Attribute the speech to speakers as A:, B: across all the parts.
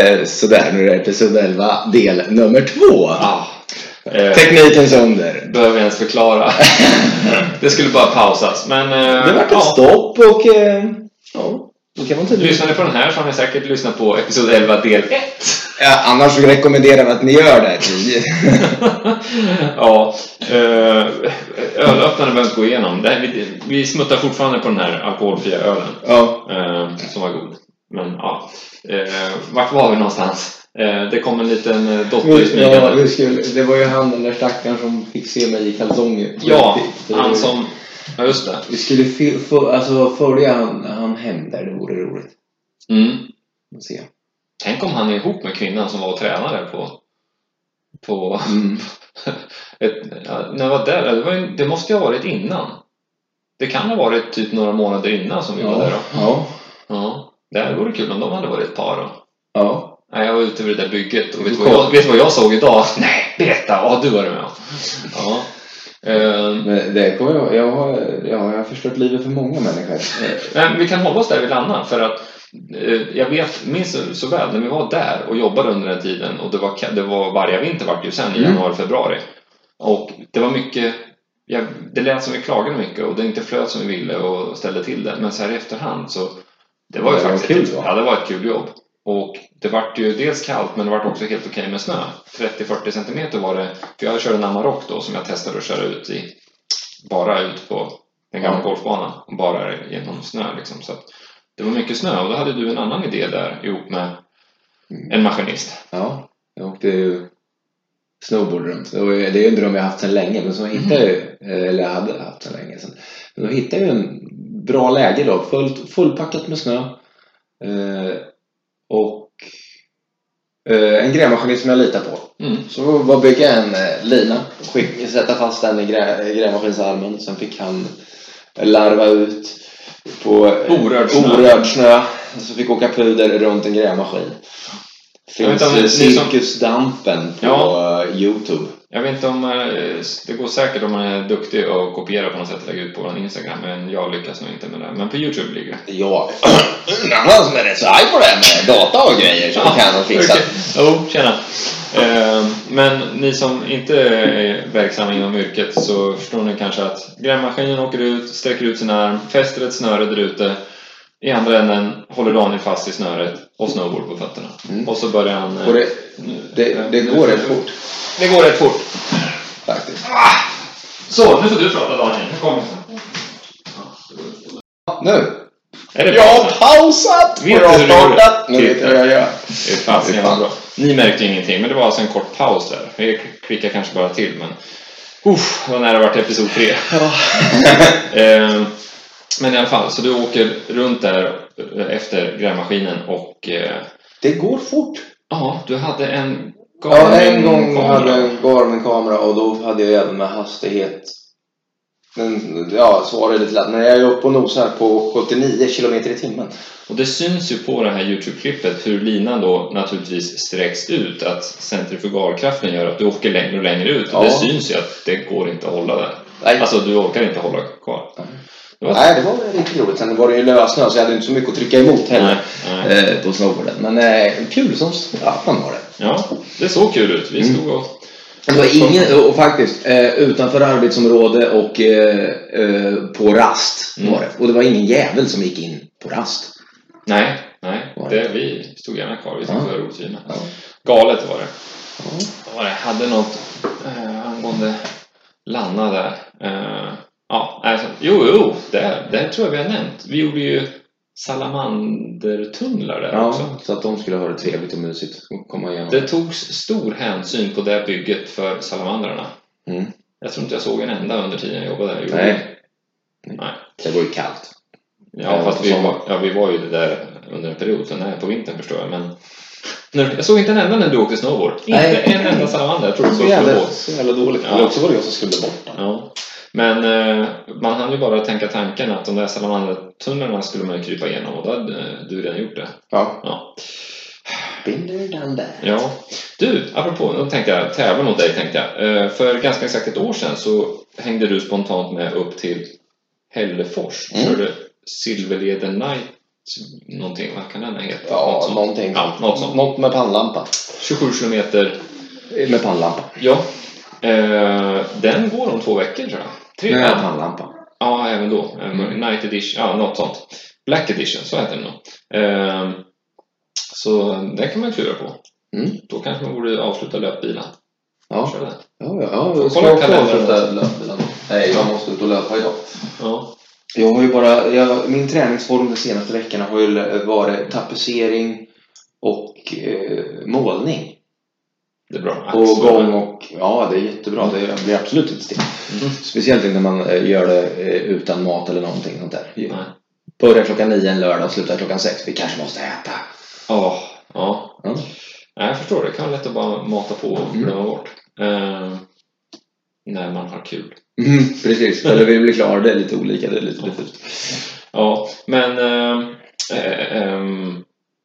A: Eh, Sådär, nu är det episod 11, del nummer två.
B: Ah, eh,
A: Teknikens under.
B: behöver jag ens förklara. det skulle bara pausas. Men, eh,
A: Det vart ett
B: ja,
A: stopp och... eh, Ja, då kan man tydligen...
B: lyssnar ni på den här så har ni säkert lyssnat på episod 11 del 1.
A: Ja, annars så rekommenderar vi att ni gör det.
B: ja, eh, ölöppnaren behöver inte gå igenom. Det här, vi, vi smuttar fortfarande på den här alkoholfria ölen
A: ja.
B: eh, som var god. Men ja, eh, vart var vi någonstans? Eh, det kom en liten eh, dotter
A: Ja,
B: smygande.
A: det, skulle, det var ju han den där stackaren som fick se mig i kalsonger.
B: Ja,
A: Det- det-
B: han som... Ja, just det.
A: Vi skulle fy- få- alltså, följa han, han hem där, det vore roligt.
B: Mm.
A: Att se.
B: Tänk om han är ihop med kvinnan som var tränare på... på
A: Mm.
B: ett, ja, när jag var där, det, var, ju- det måste ju ha varit innan. Det kan ha varit typ några månader innan som vi var där
A: Ja.
B: då.
A: Ja.
B: Ja. Det här vore kul om de hade varit ett par då.
A: ja.
B: Nej, jag var ute vid det där bygget och vet du vad jag, vet du vad jag såg idag? Nej, berätta! Ja, du var det med om. Ja. Ehm,
A: Men det kommer jag, jag, har, ja, jag har förstört livet för många människor.
B: Men vi kan hålla oss där vi landar för att eh, jag vet, minns så- så väl när vi var där och jobbade under den tiden och det var, ka- det var varje vinter vart det ju sen i
A: Mm.
B: januari, februari. Och det var mycket, jag, det lät som vi klagade mycket och det inte flöt som vi ville och ställde till det. Men så här i efterhand så, det var ju
A: Det var
B: faktiskt
A: kul,
B: ett,
A: va?
B: ja, det var ett kul jobb. Och det vart ju dels kallt men det vart också helt okej med snö. 30-40 centimeter var det, för jag körde en Amarok då som jag testade att köra ut i, bara ut på den gamla
A: Ja.
B: golfbanan och bara genom snö liksom. Så att det var mycket snö och då hade du en annan idé där ihop med
A: Mm.
B: en maskinist.
A: Ja, jag åkte ju snowboard runt. Det var ju- det är ju en dröm jag haft sedan länge, men som jag hittade ju, eh, eller jag hade haft sedan länge sedan. Men då hittade jag ju en bra läge då, fullt, fullpackat med snö. Eh, och eh, en grävmaskinist som jag litar på.
B: Mm.
A: Så var bygga en eh, lina, skick, sätta fast den i grä, grävmaskinsarmen. Sen fick han larva ut på eh,
B: Orörd snö.
A: orörd snö. Så fick åka puder runt en grävmaskin.
B: Jag vet
A: Finns
B: inte om ni-
A: eh,
B: ni som-
A: Cirkusdampen på
B: Ja.
A: eh, Youtube.
B: Jag vet inte om eh, det går säkert om man är duktig och kopierar på något sätt och lägger ut på vår Instagram men jag lyckas nog inte med det. Men på Youtube ligger det.
A: Ja, en annan som är rätt så arg på det här med data och grejer som kan de fixa.
B: Okej. Jo, tjena! Eh, men ni som inte är verksamma inom yrket så förstår ni kanske att grävmaskinen åker ut, sträcker ut sin arm, fäster ett snöre där ute. I andra änden håller Daniel fast i snöret och snowboard på fötterna.
A: Mm.
B: Och så börjar han... eh,
A: Och det,
B: eh,
A: det, det
B: nu
A: går
B: får
A: rätt
B: du-
A: fort
B: Det går rätt fort.
A: faktiskt.
B: Så, nu får du prata Daniel. Nu kommer
A: Ja, Nu!
B: Är det
A: Jag har
B: bra?
A: pausat!
B: Vet
A: och jag
B: du hur du
A: har
B: gjorde?
A: startat! Nu vet jag hur jag gör.
B: Det är fasen jävla bra. Ni märkte ju ingenting, men det var alltså en kort paus där. Vi klickade kanske bara till, men... Uff, vad nära det var till episod 3. Eh, men i alla fall, så du åker runt där eh, efter grävmaskinen och... eh,
A: Det går fort.
B: Ja, du hade en...
A: Ja, en gång
B: Garmin-kamera.
A: hade jag en Garmin-kamera och då hade jag även med hastighet. Den ja, svarade lite lätt. Men jag är uppe och nosar på 79 kilometer i timmen.
B: Och det syns ju på det här Youtube-klippet hur linan då naturligtvis sträcks ut, att centrifugalkraften gör att du åker längre och längre ut. Och
A: Ja.
B: det syns ju att det går inte att hålla där.
A: Nej,
B: Alltså, du orkar inte hålla kvar. Det var-
A: nej det var riktigt roligt. Sen var det ju lösnö så jag hade inte så mycket att trycka emot
B: Nej,
A: heller.
B: nej.
A: Eh, på snowboarden. Men eh, kul som attan var det.
B: Ja, det såg kul ut. Vi
A: Mm.
B: stod och...
A: Det var ingen, och faktiskt, eh, utanför arbetsområde och eh, eh, på rast
B: Mm.
A: var det. Och det var ingen jävel som gick in på rast.
B: Nej, nej.
A: Var det?
B: Det, vi stod gärna kvar. Vi
A: Ja.
B: tyckte det var roligt vi med.
A: Ja.
B: Galet var det.
A: Ja.
B: Vad var det? Jag hade något eh, angående Lanna där. Eh, ja, alltså, jo, jo, det, det här tror jag vi har nämnt. Vi gjorde ju salamandertunnlar där också.
A: Ja, så att de skulle ha det trevligt och mysigt och komma igenom.
B: Det togs stor hänsyn på det bygget för salamandrarna.
A: Mm.
B: Jag tror inte jag såg en enda under tiden jag jobbade där. Gjorde
A: Nej.
B: jag? Nej.
A: Det var ju kallt.
B: Ja,
A: Eh,
B: fast
A: på
B: vi var,
A: sommaren.
B: ja, vi var ju där under en period, sen nej, på vintern förstår jag. Men när, jag såg inte en enda när du åkte snowboard.
A: Nej.
B: Inte en enda salamander. Jag trodde du
A: Så
B: skulle
A: jävla,
B: gå.
A: så jävla dåligt.
B: Ja.
A: Eller också var det jag som skulle bort. den.
B: Ja. Men eh, man hann ju bara tänka tanken att de där salamandertunnlarna skulle man ju krypa igenom och då hade eh, du redan gjort det.
A: Ja.
B: Ja.
A: Binder down there.
B: ja. Du, apropå, då tänkte jag tävla mot dig tänkte jag. Eh, för ganska exakt ett år sedan så hängde du spontant med upp till Hällefors och
A: Mm.
B: körde Silverleden Night någonting, vad kan den ha hetat?
A: Ja,
B: något sånt.
A: någonting.
B: Ja, något sånt.
A: Något med pannlampa.
B: 27 kilometer,
A: Med pannlampa.
B: ja. Eh, den går om två veckor tror jag. Tre?
A: Med
B: Ja,
A: pannlampa.
B: ja även då. Eh,
A: Mm.
B: Night edition, ja något sånt. Black edition, så heter den nog. Eh, så den kan man klura på.
A: Mm.
B: Då kanske man borde avsluta löpbilen.
A: Ja,
B: Kör den.
A: ja, ja. ja.
B: Kolla kalendern.
A: löpbilen? Nej, jag måste ut och löpa idag.
B: Ja.
A: Jag har ju bara, jag, min träningsform de senaste veckorna har ju varit tapetsering och eh, målning.
B: Det är bra.
A: Och
B: Axlar.
A: gång och, ja det är jättebra. Det blir absolut inte still.
B: Mm.
A: Speciellt inte när man eh, gör det eh, utan mat eller någonting sånt där.
B: Nej.
A: Börjar klockan nio en lördag och slutar klockan sex. Vi kanske måste äta.
B: Ja, ja.
A: Ja.
B: Nej, jag förstår. Det kan vara lätt att bara mata på och
A: Mm.
B: glömma bort. Eh, när man har kul.
A: Mm, precis, eller vi blir klara. Det är lite olika, det är lite diffust.
B: Ja, men ehm, eh, ehm,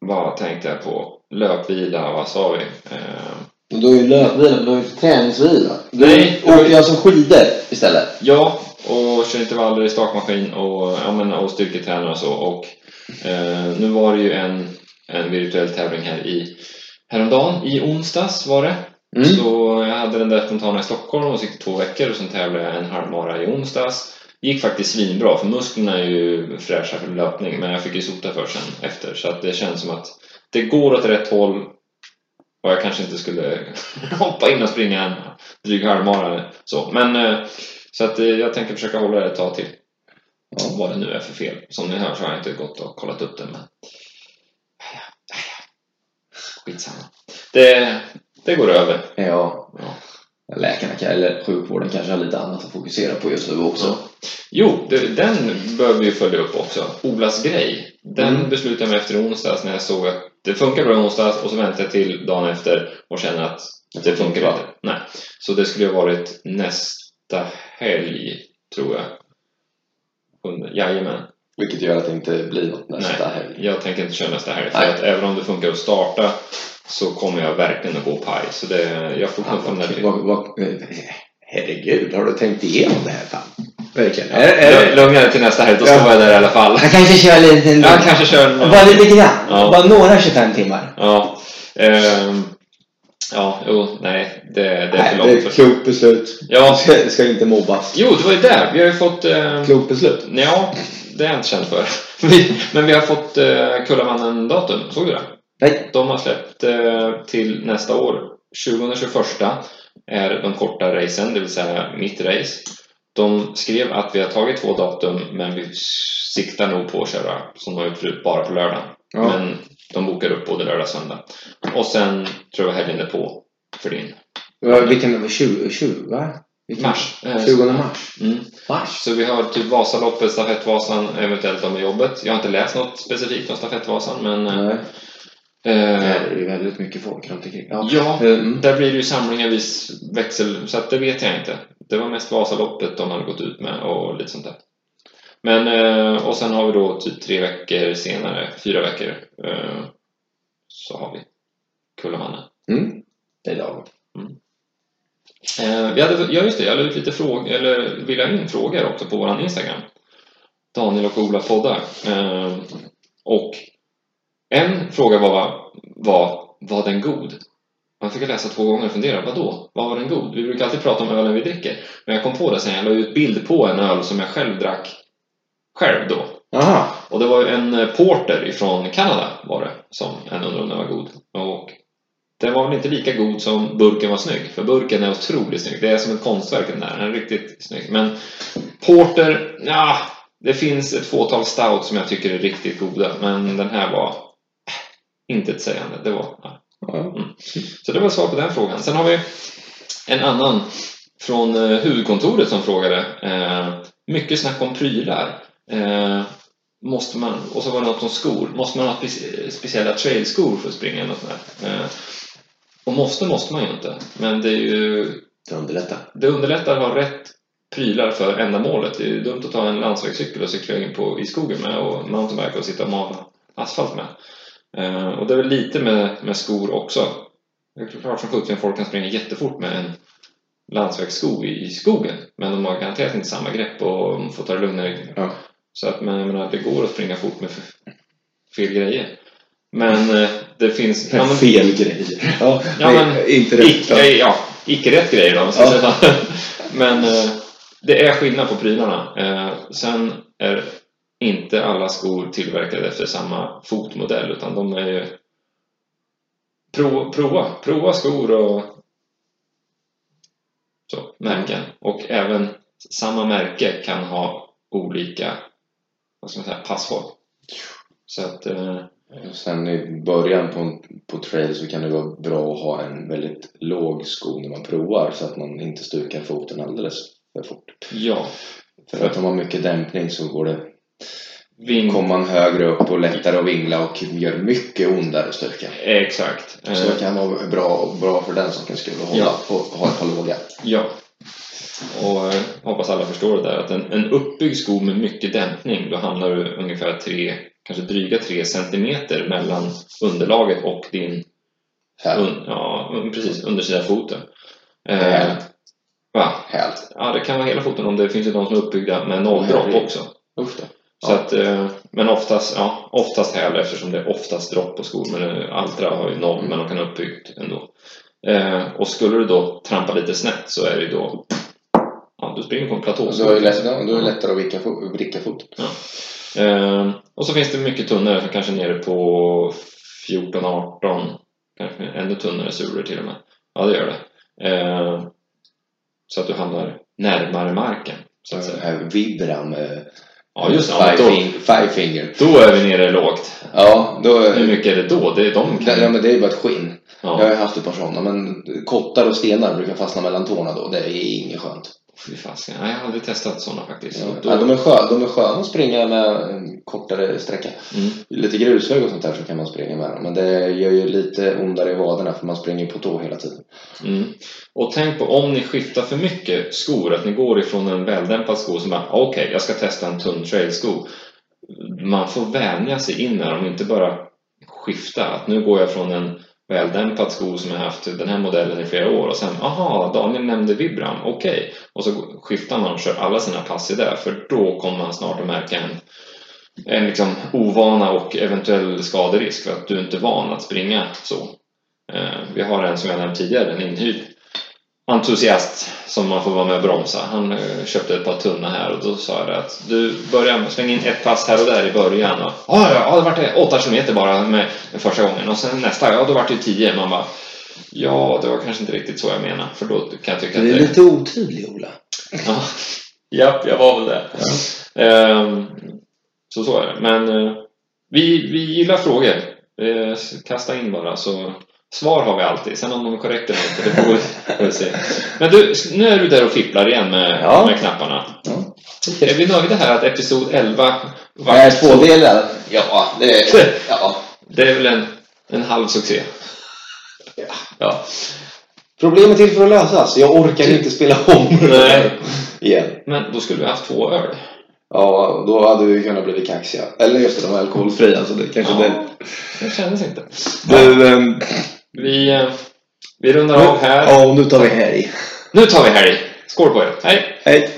B: vad tänkte jag på? Löpvila, vad sa vi? Ehm,
A: Men du har ju löpvila, men du har ju träningsvila.
B: Nej, det var ju-
A: Åker alltså skidor istället?
B: ja, och kör intervaller i stakmaskin och, ja, men, och styrketränar och så. Och, eh, nu var det ju en, en virtuell tävling här i häromdagen. I onsdags var det.
A: Mm.
B: Så jag hade den där spontana i Stockholm och så gick det två veckor och sen tävlade jag en halvmara i onsdags. Gick faktiskt svinbra för musklerna är ju fräscha för löpning men jag fick ju sota för sen efter så att det känns som att det går åt rätt håll och jag kanske inte skulle hoppa in och springa en dryg halvmara eller så. Men eh, så att eh, jag tänker försöka hålla det ett tag till.
A: Ja.
B: Vad det nu är för fel. Som ni hör så har jag inte gått och kollat upp det men skitsamma. Det, det går över.
A: Ja.
B: Ja.
A: Läkarna kan, eller sjukvården kanske har lite annat att fokusera på just nu också.
B: Jo, det, den behöver vi följa upp också. Olas grej. Den
A: Mm.
B: beslutade jag mig efter onsdags när jag såg att det funkar bra i onsdags och så väntade jag till dagen efter och känner att det funkar inte. Nej. Så det skulle ha varit nästa helg, tror jag. Sjunde- Jajamän.
A: Vilket gör att det inte blir något nästa
B: Nej,
A: helg.
B: jag tänker inte köra nästa helg. För
A: Nej.
B: att även om det funkar att starta så kommer jag verkligen att gå paj. Så det, jag får
A: Ja,
B: knuffa den där
A: vad-
B: till.
A: vad- vad- eh, Herregud, har du tänkt igenom det här fan? Verkligen. Är,
B: Lugn- Lugna dig till nästa helg, då står
A: Ja.
B: jag där i alla fall.
A: Jag kanske kör lite ändå.
B: Jag kanske kör någon-
A: Bara lite grann.
B: Ja.
A: Bara några 25 timmar.
B: Ja. ehm, ja, jo, nej. Det, det är för
A: Nej, det är
B: långt.
A: ett
B: För...
A: klokt beslut.
B: Ja,
A: Ska, ska inte mobbas.
B: jo, det var ju där. Vi har ju fått... Eh,
A: Klokt beslut.
B: nej, ja, det är jag inte känd för. Vi, men vi har fått eh, Kullamannen-datum. Såg du det?
A: Nej.
B: De har släppt eh, till nästa år. 2021 är de korta racen, det vill säga mitt race. De skrev att vi har tagit två datum, men vi siktar nog på att köra som de har gjort förut, bara på lördag.
A: Ja.
B: Men de bokar upp både lördag och söndag. Och sen tror jag helgen är på för din.
A: Vad- Vilken? 20? 20 va? Vilken?
B: Mars. Eh,
A: 20 mars.
B: Mm.
A: Mars?
B: Så vi har typ Vasaloppet, Stafettvasan, eventuellt de med jobbet. Jag har inte läst något specifikt om Stafettvasan, men... eh,
A: Nej.
B: eh,
A: Det är ju väldigt mycket folk runt omkring. Ja.
B: ja,
A: Mm.
B: Där blir det ju samlingar vid växel, så att det vet jag inte. Det var mest Vasaloppet de hade gått ut med och lite sånt där. Men, eh, och sen har vi då typ tre veckor senare, fyra veckor, eh, så har vi Kullamannen.
A: Mm. Det är lagom.
B: Eh, vi hade, ja, just det, jag la ut lite frågor, eller vill ha in frågor också på vår Instagram. Daniel och Ola poddar. Eh, och en fråga var, var, var den god? Man fick läsa två gånger och fundera, vadå? Vad var den god? Vi brukar alltid prata om ölen vi dricker. Men jag kom på det sen, jag la ut bild på en öl som jag själv drack själv då.
A: Aha.
B: Och det var ju en eh, porter ifrån Kanada var det som en undrade om den var god. Och den var väl inte lika god som burken var snygg, för burken är otroligt snygg. Det är som ett konstverk den där, den är riktigt snygg. Men porter, ja, det finns ett fåtal stout som jag tycker är riktigt goda, men den här var eh, intetsägande. Det var, ja.
A: Ja.
B: Så det var svar på den frågan. Sen har vi en annan från eh, huvudkontoret som frågade. Eh, mycket snack om prylar. Eh, måste man, och så var det något om skor. Måste man ha spe- speciella trailskor för att springa? eller Något sånt där? Eh, och måste, måste man ju inte. Men det, är ju,
A: Det underlättar.
B: det underlättar att ha rätt prylar för ändamålet. Det är ju dumt att ta en landsvägscykel och cykla in på, i skogen med och mountainbike och sitta och mala asfalt med. Eh, och det är väl lite med, med skor också. Det är klart som sjutton folk kan springa jättefort med en landsvägssko i, i skogen. Men de har garanterat inte samma grepp och får ta det lugnare.
A: Ja.
B: Så att, men jag menar, det går att springa fort med f- fel grejer. Men eh, det finns... Ja, men,
C: Fel grejer. Ja,
B: Ja,
C: nej,
B: men-
C: inte rätt.
B: icke, ja, icke rätt grejer då, om man ska
C: Ja.
B: säga. Men eh, det är skillnad på prylarna. Eh, sen är inte alla skor tillverkade efter samma fotmodell utan de är ju... Prova, prova, prova skor och så, märken. Och även samma märke kan ha olika vad ska man säga, passform. Så att, eh,
A: Och Sen i början på, en, på trail så kan det vara bra att ha en väldigt låg sko när man provar så att man inte stukar foten alldeles för fort.
B: ja,
A: För att om man har mycket dämpning så går det,
B: ving...
A: kommer man högre upp och lättare att vingla och gör mycket ondare att stuka.
B: Exakt. Eh,
A: Så det kan vara bra, bra för den sakens skull att hålla,
B: Ja.
A: på, ha ett par låga.
B: Ja. Och eh, hoppas alla förstår det där att en, en uppbyggd sko med mycket dämpning, då hamnar du ungefär tre, kanske dryga tre centimeter mellan underlaget och din
A: Häl.
B: un, ja, un, precis, undersida av foten. Eh,
A: Häl.
B: va?
A: Häl.
B: Ja, det kan vara hela foten om det finns ju de som är uppbyggda med nolldropp
A: Herregud.
B: också.
A: Usch då.
B: Så
A: Ja.
B: att, eh, men oftast, ja, oftast häl eftersom det är oftast dropp på skor. Men eh, Altra har ju noll, men de kan ha uppbyggt ändå. Eh, och skulle du då trampa lite snett så är det ju då... Ja, du springer på en platå.
A: Och Då är det lätt- ja, då är det lättare att vicka fo- vricka foten.
B: Eh, och så finns det mycket tunnare, som kanske är nere på 14-18, kanske ännu tunnare sulor till och med. Ja, det gör det. Eh, så att du hamnar närmare marken, så att
A: Den
B: säga.
A: här Vibram. eh,
B: Ja, just det. Ja,
A: five,
B: då,
A: fing, five finger.
B: då är vi nere lågt.
A: Ja, då...
B: Hur mycket är det då? Det är de kan...
A: Ja, men det är ju bara ett skinn.
B: Ja.
A: Jag har ju haft ett par sådana, men kottar och stenar brukar fastna mellan tårna då. Det är inget skönt.
B: Fy fasken. Nej, jag har aldrig testat sådana faktiskt.
A: Ja,
B: Och då,
A: de, är skö, de är sköna att springa med en kortare sträcka.
B: mm,
A: Lite grushög och sånt där så kan man springa med dem. Men det gör ju lite ondare i vaderna för man springer på tå hela tiden.
B: mm. Och tänk på om ni skiftar för mycket skor, att ni går ifrån en väldämpad sko som bara okej, jag ska testa en tunn trailsko. Man får vänja sig in med dem, inte bara skifta. Att nu går jag från en väldämpad sko som jag haft den här modellen i flera år och sen aha, Daniel nämnde Vibram, okej. Och så skiftar man och kör alla sina pass i det, för då kommer man snart att märka en en liksom ovana och eventuell skaderisk för att du inte är van att springa så. Eh, Vi har en som jag nämnt tidigare, en inhyrd entusiast som man får vara med och bromsa. Han eh, köpte ett par tunna här och då sa jag det att du börjar med att slänga in ett pass här och där i början. Och, ja, ja, ja, det vart det. åtta kilometer bara med den första gången och sen nästa, ja då vart det ju tio. Man bara Ja, det var kanske inte riktigt så jag menade för då kan jag tycka att
C: Du är
B: det...
C: lite otydlig Ola.
B: Ja, Japp, jag var väl det. Ehm, så så är det. Men eh, vi, vi gillar frågor. Eh, s- kasta in bara. Så svar har vi alltid. Sen om de är korrekta eller inte, det får vi, får vi se. Men du, s- nu är du där och fipplar igen med,
A: Ja.
B: med knapparna.
A: Ja.
B: Är vi nöjda här att episod 11 var-
A: Nej, tvådelar. Ja, det är... Ja.
B: Det är väl en, en halv succé? Ja.
A: Problem är till för att lösas. Jag orkar inte spela om det
B: Nej.
A: igen.
B: Men då skulle vi haft två öl.
A: Ja, då hade vi kunnat bli kaxiga. Eller just det, de är alkoholfria. Så det kanske
B: Ja,
A: det...
B: det kändes inte.
A: Du, ehm,
B: Vi, eh, vi rundar av här.
A: ja, nu tar vi helg.
B: Nu tar vi helg! Skål på er! Hej!
A: Hej!